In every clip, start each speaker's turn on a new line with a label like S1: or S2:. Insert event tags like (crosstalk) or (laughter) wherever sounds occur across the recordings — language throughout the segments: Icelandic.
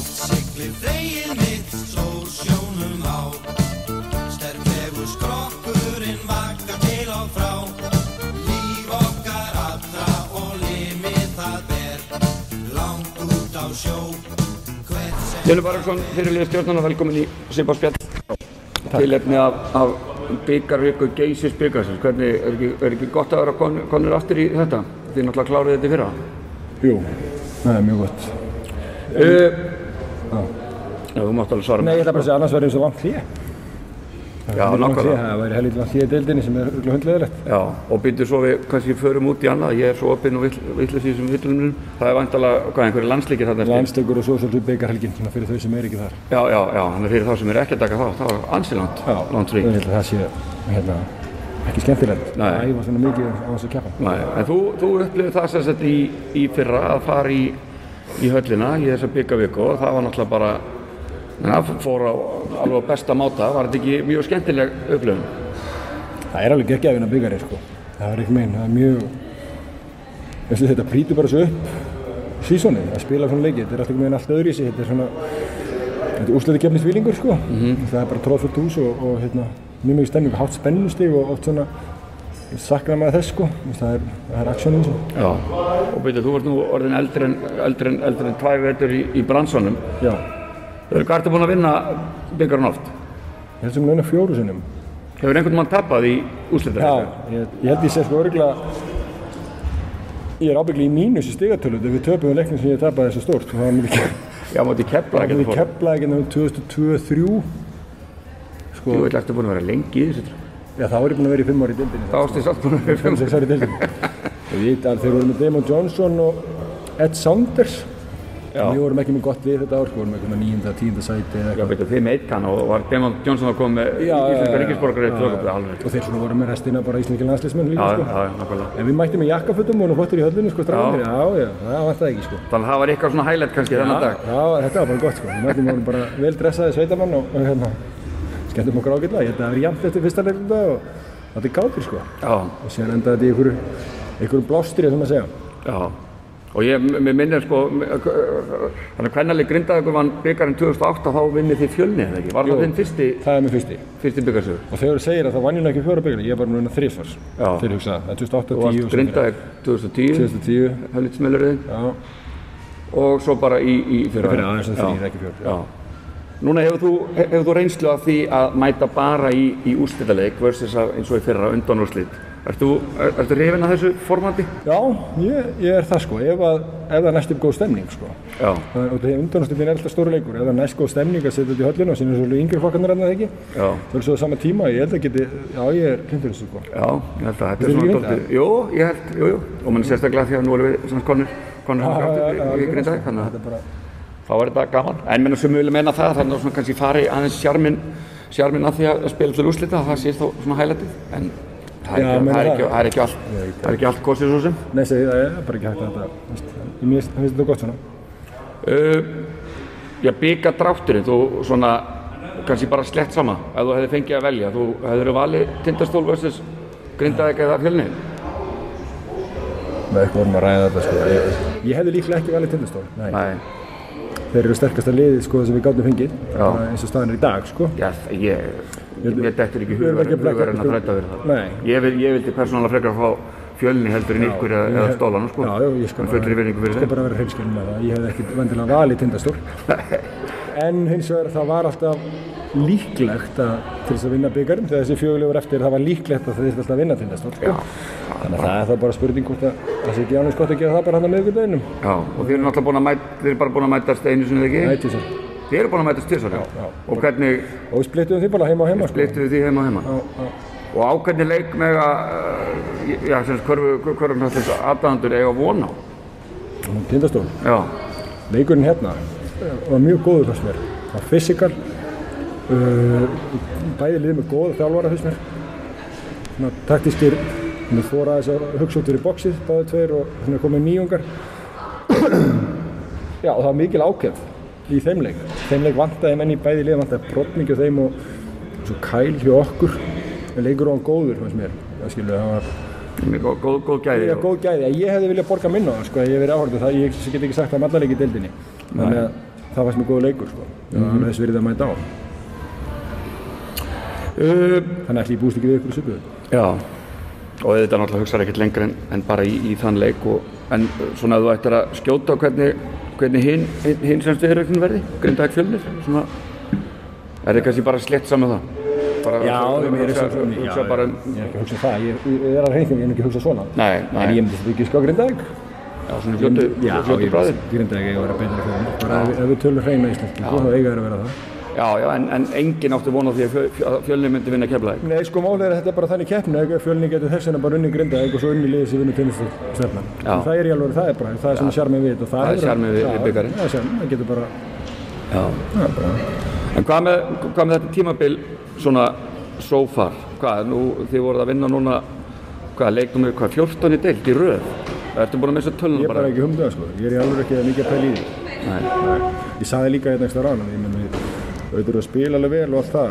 S1: Við veginn mitt sól sjónum á Sterklegur skrokkurinn vakar til og frá Líf okkar allra og limið það ber Langt út á sjó Hvert sem
S2: Jölur Baragsson, fyrirlið stjórnana, velkomin í Sipa Spjall Tilefni af, af byggarviku geysis byggarsins Hvernig, er ekki, er ekki gott að vera kon, konur aftur í þetta? Þið náttúrulega klárið þetta í fyrra
S3: Jú, það er mjög gott.
S2: uh, Þú mátt alveg svara
S3: Nei, ég ætla bara að segja annars verður þessu langt hlýja.
S2: Já, nákvæmlega
S3: Það væri helvítið langt hlýja í deildinni sem er örgulega hundleðilegt.
S2: Já, og býttu svo við, kannski förum út í annað Ég er svo opinn og villis í þessum villunum Það er vantalega, hvað, einhverju landsleikir þarna eftir?
S3: Landstökur og svo svolítið beigarhelgin, svona fyrir þau sem er ekki þar.
S2: Já, já, já, þannig að fyrir þá sem er ekki að taka þá Það var ansiland, langt
S3: Ég
S2: rík
S3: held að það sé, hérna, ekki skemmtilegt.
S2: Nei.
S3: Það æfa svona mikið á þessu keppa.
S2: Nei, en þú, þú upplifið það sem sagt í, í fyrra að fara í, í höllina í þessa byggaviku og það var náttúrulega bara en það fór á alveg á besta máta, var þetta ekki mjög skemmtileg upplifun?
S3: Það er alveg geggjaðin að byggari, sko. Það er ekki mein, það er mjög, veistu, þetta prýtur bara svo upp sísonið, að spila svona leiki, þetta er alltaf meginn allt öðru í sig, þetta er svona, þetta er úrslæti kemni sko. Það er bara tróðfullt hús og, og hérna, mjög mikið stemning, hátt spennustig og oft svona, sakna maður þess, sko, Þú veist, það er, það er aksjónum svo.
S2: Já. Og byrjuð, þú vart nú orðin eldri en, eldri en, eldri en tvæ vetur í, í bransanum.
S3: Já.
S2: Hvað ertu búin að vinna byggarinn oft?
S3: Ég held sem hún launa fjóru sinnum.
S2: Hefur einhvern mann tapað í úslita?
S3: Já, ég, ég held ég sé sko örgulega Ég er ábygglega í mínus í stigatölu þegar við töpum leiknum sem ég tapaði þessu stórt og það var mikið
S2: Já, mátti kepla
S3: Það
S2: ekki
S3: við hérna um keflaði ekki náttúrulega 2023
S2: Sko, þú veit, ertu búin að vera lengi í þessu.
S3: Já, þá er ég búinn að vera í fimm ári í dildinni
S2: Það ástu samt búin að vera
S3: Fimm,
S2: fimm.
S3: sex ári í dildinni Og ég veit að þeir voru með Damon Johnson og Ed Saunders Já. Við vorum ekki með gott við þetta ár, sko, vorum eitthvað nýjunda, tíunda sæti eða
S2: Já,
S3: eitthvað
S2: byrjuð, þið með eitt kann og var Demond Jónsson að koma með
S3: Já, já,
S2: íslenska
S3: já,
S2: ríkisborgarið
S3: já, já.
S2: 2000.
S3: Og þeir svona voru með restina bara íslenski landslismenn líka,
S2: Já, já,
S3: sko
S2: já, nákvæmlega.
S3: En við mættum með jakkafutum og vorum hóttir í höllinu, sko, stráðinni Já, já, það var ekki, sko
S2: Þannig að það var eitthvað svona highlight kannski þennan dag.
S3: Já, þetta var bara gott sko. Við mættum vorum bara vel dressaði sveitamann og, og hérna, skemmtum okkur ágætlega. Ég held að það var jæmt eftir fyrsta leikum dag og þetta er gátir sko.
S2: Já,
S3: Og síðan endaði þetta í einhverju, einhverju blástri sem að segja.
S2: já. Og ég, mér minnir sko, m- þannig að hvernalið grindaðugur vann byggarinn 2008 þá vinnið þið fjölni eða ekki? Var
S3: Jú.
S2: það þinn fyrsti,
S3: Það er mér fyrsti.
S2: fyrsti byggarsögur?
S3: Og þegar þú segir að það vann ég nú ekki fjóra byggjana, ég var núna þrífars.
S2: Já.
S3: Þeir hugsaði, það er 2008,
S2: Þú
S3: 10
S2: varst grindaðug 2010,
S3: 2010.
S2: höllitsmjölurinn
S3: Já.
S2: og svo bara í, í fyrra.
S3: Í fyrra, aðeins en
S2: Já.
S3: þrír, ekki fjórir, já.
S2: Já. Núna hefur þú, hefur þú reynslu af því að mæta bara í, í úrslitaleik versus að, eins og í fyrra undanúrslit. Ertu, er, ertu hrifinn af þessu formandi?
S3: Já, ég, ég er það sko. Ef, að, ef það er næst upp góð stemning sko.
S2: Já.
S3: Það er, og það er undanúrstöfnir er alltaf stóru leikur. Ef það er næst góð stemning að setja þetta í höllinu og síðan er svolítið yngri flokkarnir annað ekki.
S2: Já.
S3: Það er svo á sama tíma, ég held að geti, já ég er hlindur þessu sko.
S2: Já, ég held að þetta er
S3: Þetta er
S2: svona
S3: ekki
S2: dálítið, jú, ég held, jú, jú, og mann sérstaklega því að nú erum við svona konur, konur hann
S3: já, já,
S2: kraftur í
S3: algjörlega,
S2: grindaði, þannig
S3: Þetta er
S2: að
S3: bara,
S2: þá er þetta gaman. En menn sem við viljum meina það, þannig að svona kannski fari aðeins sjarmin, sjarmin að því að spila til úrslita, það sést þá svona hægletið, en það er
S3: Já,
S2: ekki,
S3: meina
S2: það er
S3: það.
S2: ekki, það er ekki allt, það er ekki allt kosið svo sem.
S3: nei segi, það er bara ekki hægt að þetta, þú veist, ég minnst mér finnst þetta gott svona.
S2: Uh, já, bygga drátturinn, þú svona, kannski bara slett sama, ef þú hefði fengið að velja, þú hefðir valið tindastól versus grindaði eða fjölnið.
S3: Með eitthvað vorum að ræða þetta sko. Ég, ég hefði líklega ekki valið tindastól, nei.
S2: Nei,
S3: Þeir eru sterkasta liðið sko sem við gátum fengið,
S2: Já.
S3: bara eins og staðan er í dag sko.
S2: Já, þ- ég, ég mér dettur ekki
S3: Við erum
S2: hugar
S3: ekki að blekka
S2: hugar en að
S3: okkur.
S2: þræta fyrir það.
S3: Nei.
S2: Ég, vil, ég vildi persónulega frekar að fá fjölni heldur en ykkur eða, eða stólan, sko.
S3: Já, já, ég skal
S2: Með fullri virðingu fyrir
S3: Ég
S2: þeim.
S3: skal bara vera hreinskjörn með það, ég hefði ekkert vendilega
S2: (laughs)
S3: valið tindastól. en hins vegar það var alltaf líklegt að, til þess að vinna byggarinn, þegar þessi fjögulegur eftir, það var líklegt að það þurfti alltaf að vinna tindastól. Sko. Þannig að það er þá bara spurning hvort að það sé ekki ánum skott að gera það bara hann að miðvikudaginum.
S2: Já, og þið eru náttúrulega búin að mæta, þið eru bara búin að mætast einu sinni eða ekki?
S3: Ætið sér.
S2: Þið eru búin að mætast tvisar, já.
S3: Já, já.
S2: Og hvernig
S3: Og við splittum því bara heima og heima sko.
S2: leittu þið því heima og heima?
S3: Já, já.
S2: Og á hvernig leik með að, já, sem sagt, hverju, hverju náttúrulega aðdæðandur eiga von á?
S3: Og Tindastól.
S2: Já,
S3: Leikurinn hérna var mjög góður fyrst mér. Það var fysikal, uh, bæði liðið með góða þjálfara fyrst mér. Svona taktískir, við fóra þess að hugsa út fyrir bóksið, báði tveir og þannig komið nýjungar. (clears throat) Já, og það var mikil ákjöf í þeim leik. Þeim leik vantaði menn í bæði liðið, vantaði brotningi og þeim og svo kæl hjá okkur. En leikur var góður fyrst mér. Það skilur, það var
S2: með góð, góð, góð gæði.
S3: Ég er góð gæði, ég hefði viljað borga minna á það, sko, ef ég hef verið áhörðu það, ég get ekki sagt það um alla leiki í deildinni. Þannig að það var sem er góð leikur sko. mm
S2: Mhm.
S3: -hmm. þess verið að mæta á
S2: Uh,
S3: þannig ætli ég búist ekki við ykkur söpuðu
S2: já, og þetta náttúrulega hugsaði ekkert lengur en, en bara í, í þann leik og, en uh, svona ef þú ættir að skjóta á hvernig, hvernig hinn hin, hin semst viðrögnin verði, Grindavík fjölnir svona, er þið kannski bara slett saman það bara,
S3: Já, ég meira
S2: hugsa,
S3: svo- svo-
S2: hugsa,
S3: já, já.
S2: bara um
S3: ég er ekki að hugsa það, ég, ég er að reyna ég er ekki að hugsa svona
S2: nei, nei,
S3: en ég myndi þetta ekki ská Grindavík
S2: já, svona fljótu,
S3: Já,
S2: fljótu
S3: ég
S2: bræðir
S3: veist, Grindavík eiga að vera betra fyrir bara ef, ef við tölum hreina íslenski, þá eiga þeir að vera það
S2: já, já, en, en engin átti vona því að fjö, fjö, fjölnir myndi vinna keflaði
S3: Nei, sko málið er að þetta er bara þannig keppni að fjölning getur þess vegna bara unni Grindavík og svo unni liðið sem vinnur tennisstefnan
S2: Já.
S3: það er í alveg, það er bara, það er svona sjarmið við þetta og
S2: Það er
S3: bara-
S2: sjarminn við-
S3: Já,
S2: við bikarinn.
S3: Það er sjarmið, það getur bara,
S2: já,
S3: það er bara
S2: en hvað með, hvað með þetta tímabil svona so far, hvað, nú þið voruð að vinna núna, hvað, leiknum við hvað, 14 í deilt í röð Ertu búin að missa tölunum
S3: Ég er bara ekki humdað sko, ég er í alveg ekki mikið að pæla í því.
S2: Nei.
S3: Ég saði líka hérna ekstra rána, ég menn við auðvitað eru að spila alveg vel og allt það,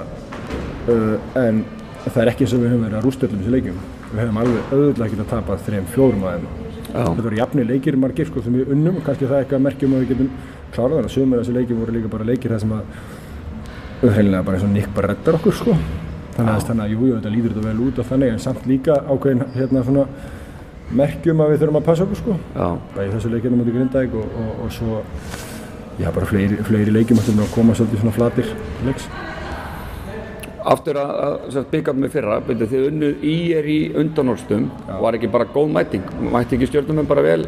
S3: uh, en það er ekki eins og við höfum verið að rústa öllum þessi leikjum. Við höfum alveg auðvitað ekki að tapa þrejum, fjórum aðeins.
S2: Já.
S3: Þetta voru jafnir leikir margir sko sem við unnum, kannski það er eitthvað að merkjum að við getum klárað þannig. Sumir af þessi leikir voru líka bara leikir þar sem að, auðvitað bara eins og Nick bara reddar okkur sko. Þannig að þannig að jújú, þetta lítur þetta vel út og þannig, en samt líka ákveðin hérna svona merkjum að við þurfum að passa okkur sko
S2: Já,
S3: bæði þessu leikinu mútið Grindavík og, og, og svo já, bara fleiri, fleiri leikjum ætlum við að koma svolítið svona flatir til leiks.
S2: aftur að, að sem sagt, byggarnum í fyrra, byrju, þið unnuð í er í undanólstum, var ekki bara góð mæting, mætti ekki stjórnum en bara vel,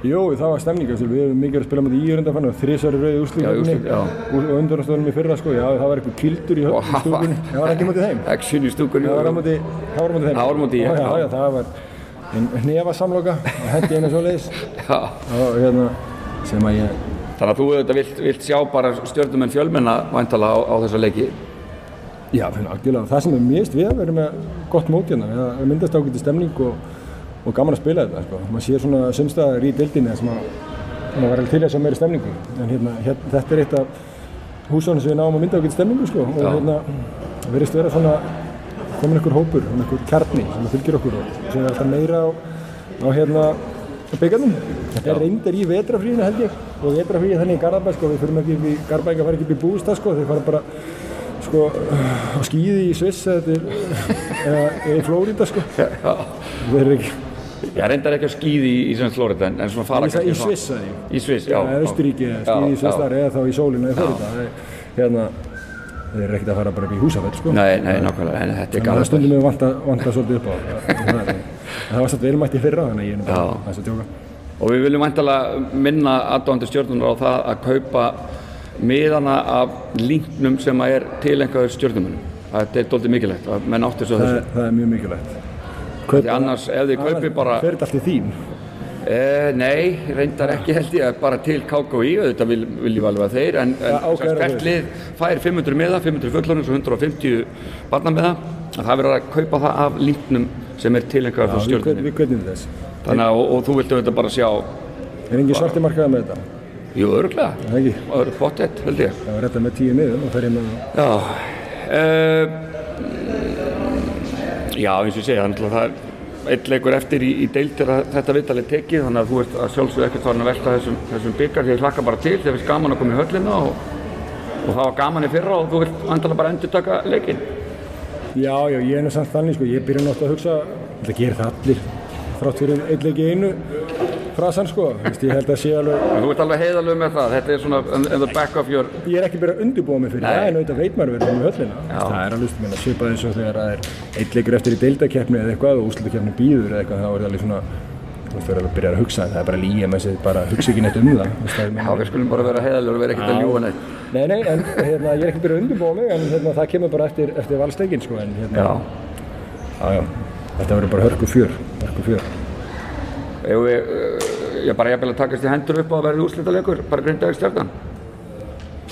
S3: Jó, það var stemning, þessu, við hefum mikið verið að spila mútið í undanfannu, þrísværi rauði
S2: Já,
S3: úrslíkinni
S2: úrslit, já.
S3: og undanastöðunum í fyrra sko, já, það var eitthvað kildur í
S2: Og
S3: höfnum
S2: hafa-
S3: stúkunni, það var ekki mútið þeim.
S2: action í stúkunni.
S3: Það var á móti, það var á móti þeim.
S2: Það var á móti,
S3: já.
S2: já.
S3: Já, já, það var hnefa samloka, hendi einu svoleiðis
S2: Já,
S3: og hérna, sem að ég,
S2: þannig að þú auðvitað vilt, vilt sjá bara stjórnum en fjölmenna væntala á, á þessa leiki.
S3: Já, fyrir algjörlega. Það sem er mest við að vera með gott mót hérna, við að myndast ágæti stemning og, og gaman að spila þetta, sko. Man sér svona sumstaðar í deildinni þar sem að maður var alveg til í að sjá meiri stemningu. En hérna, hérna, þetta er eitt af húsónum sem við náum að mynda ágæti stemningu, sko. Og hérna, það verðist vera svona komin einhver hópur, svona einhver kjarni sem fylgir okkur og sem er alltaf meira á, á hérna, byggjarnum. Þetta er reyndar í vetrafríðinu held ég og vetrafríði þannig í Garðabæ, sko, við förum ekki upp í Garðabæ, það fara ekki upp í bústað, sko, þeir fara bara sko, uh, á skýði í Sviss eða til- eða í Flórída sko.
S2: Já,
S3: Þeir eru ekki,
S2: ég reyndar ekki að skýði í, í sem Florida en, en svona fara
S3: ég sagði í
S2: svona-
S3: Sviss að ég.
S2: Í Sviss, já.
S3: Eða Östuríki eða
S2: Já,
S3: skýði í Sviss
S2: já.
S3: þar eða þá í sólinu eða Flórída. Þeir- Hérna, þeir eru ekkert að fara bara upp í húsafell sko.
S2: Nei, nei, nákvæmlega, en þetta er
S3: Það
S2: galast.
S3: stundum við vanta, vanta svolítið upp á það. En Það var svolítið velmætt í fyrra þannig að ég er nú bara
S2: Já.
S3: aðeins að djóka.
S2: Og við viljum væntalega minna aðdóðandi stjórnunar á það að kaupa miðana af linknum sem að er tilengaður stjórnumunum. Þetta er doldið mikilvægt að menn átti svo
S3: Það,
S2: þessu.
S3: er- það er mjög mikilvægt. Kaup,
S2: Því annars, ef þið kaupir bara,
S3: Fer þetta allt í þín?
S2: e, nei, reyndar ekki held ég að bara til KKÍ, auðvitað vil, viljum alveg að þeir, en, en
S3: Já, ok,
S2: sem sagt,
S3: ok.
S2: hvert lið fær 500 miða, 500 fullorins og 150 barnameða, að það verður að kaupa það af linknum sem er tilengaður fyrir
S3: Við kaup-
S2: stjórnunum.
S3: Við kveitnum þess.
S2: Þannig að, og, og þú viltu auðvitað bara sjá,
S3: Er engin svarti markaða með þetta?
S2: jú, örglega,
S3: Það er ekki.
S2: örglega, pottet, held ég.
S3: Það var þetta með tíu niður og fer hérna- ég með
S2: Já, uh, já eins og ég segja, þannig að það er einn leikur eftir í, í deildir að þetta vitalið tekið, þannig að þú ert að sjálfsögðu ekkert farin að velta þessum, þessum byggar því að hlakka bara til, þegar finnst gaman að koma í höllina og, og það var gaman í fyrra og þú vilt andala bara endur taka leikinn.
S3: Já, já, ég er nú samt þannig, sko, ég byrja náttúrulega að hugsa, þetta gerir það allir, þrátt fyrir einn leik í einu frasan, sko, Vist, ég held að sé alveg,
S2: En Þú ert alveg heiðalög með það, þetta er svona in, in the back of your...
S3: ég er ekki byrjað að undirbúa mig fyrir
S2: Nei.
S3: það, en auðvitað veit maður verið um höllina, Vist, það er alveg, minna, svipað eins og þegar það er einn leikur eftir í deildakeppni eða eitthvað og úslutakefni býður eða eitthvað, þá er það alveg svona, þú veist, verður alveg að byrja að hugsa, en það er bara líja með sér, bara hugsa ekki neitt um það, Vist, það er
S2: Já, við skulum bara vera heiðalög og vera ekkert að ljúa neitt.
S3: Nei, nei, en hérna, ég er ekki byrjað að undirbúa mig, en hérna, það kemur bara eftir, eftir valsleikin, sko, en hérna,
S2: Já,
S3: já, já, þetta verður bara hörku fjör, hörku fjör.
S2: ef við, uh, ég bara jafnvel að takast í hendur upp á að verða úrslitaleikur, bara grindaði stjarnan.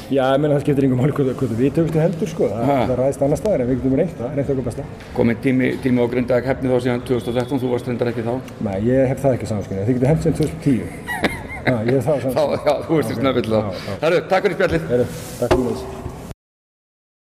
S3: Já, ég meina það skiptir yngum máli hvort, hvort við tökumst í hendur sko, það,
S2: Ha.
S3: það ræðist annars staðar en við getum reynt það, reynt okkur besta.
S2: Komið tími, tími á Grindavík hefni þá síðan 2013, þú varst reyndar ekki þá.
S3: Nei, ég hef það ekki samskynið, þið getum hent sem 2010. Já, ég hef það
S2: Já,
S3: samskynið.
S2: já, þú veist þér snöfill þá. Herru, takk fyrir spjallið.
S3: Herru, takk fyrir þess.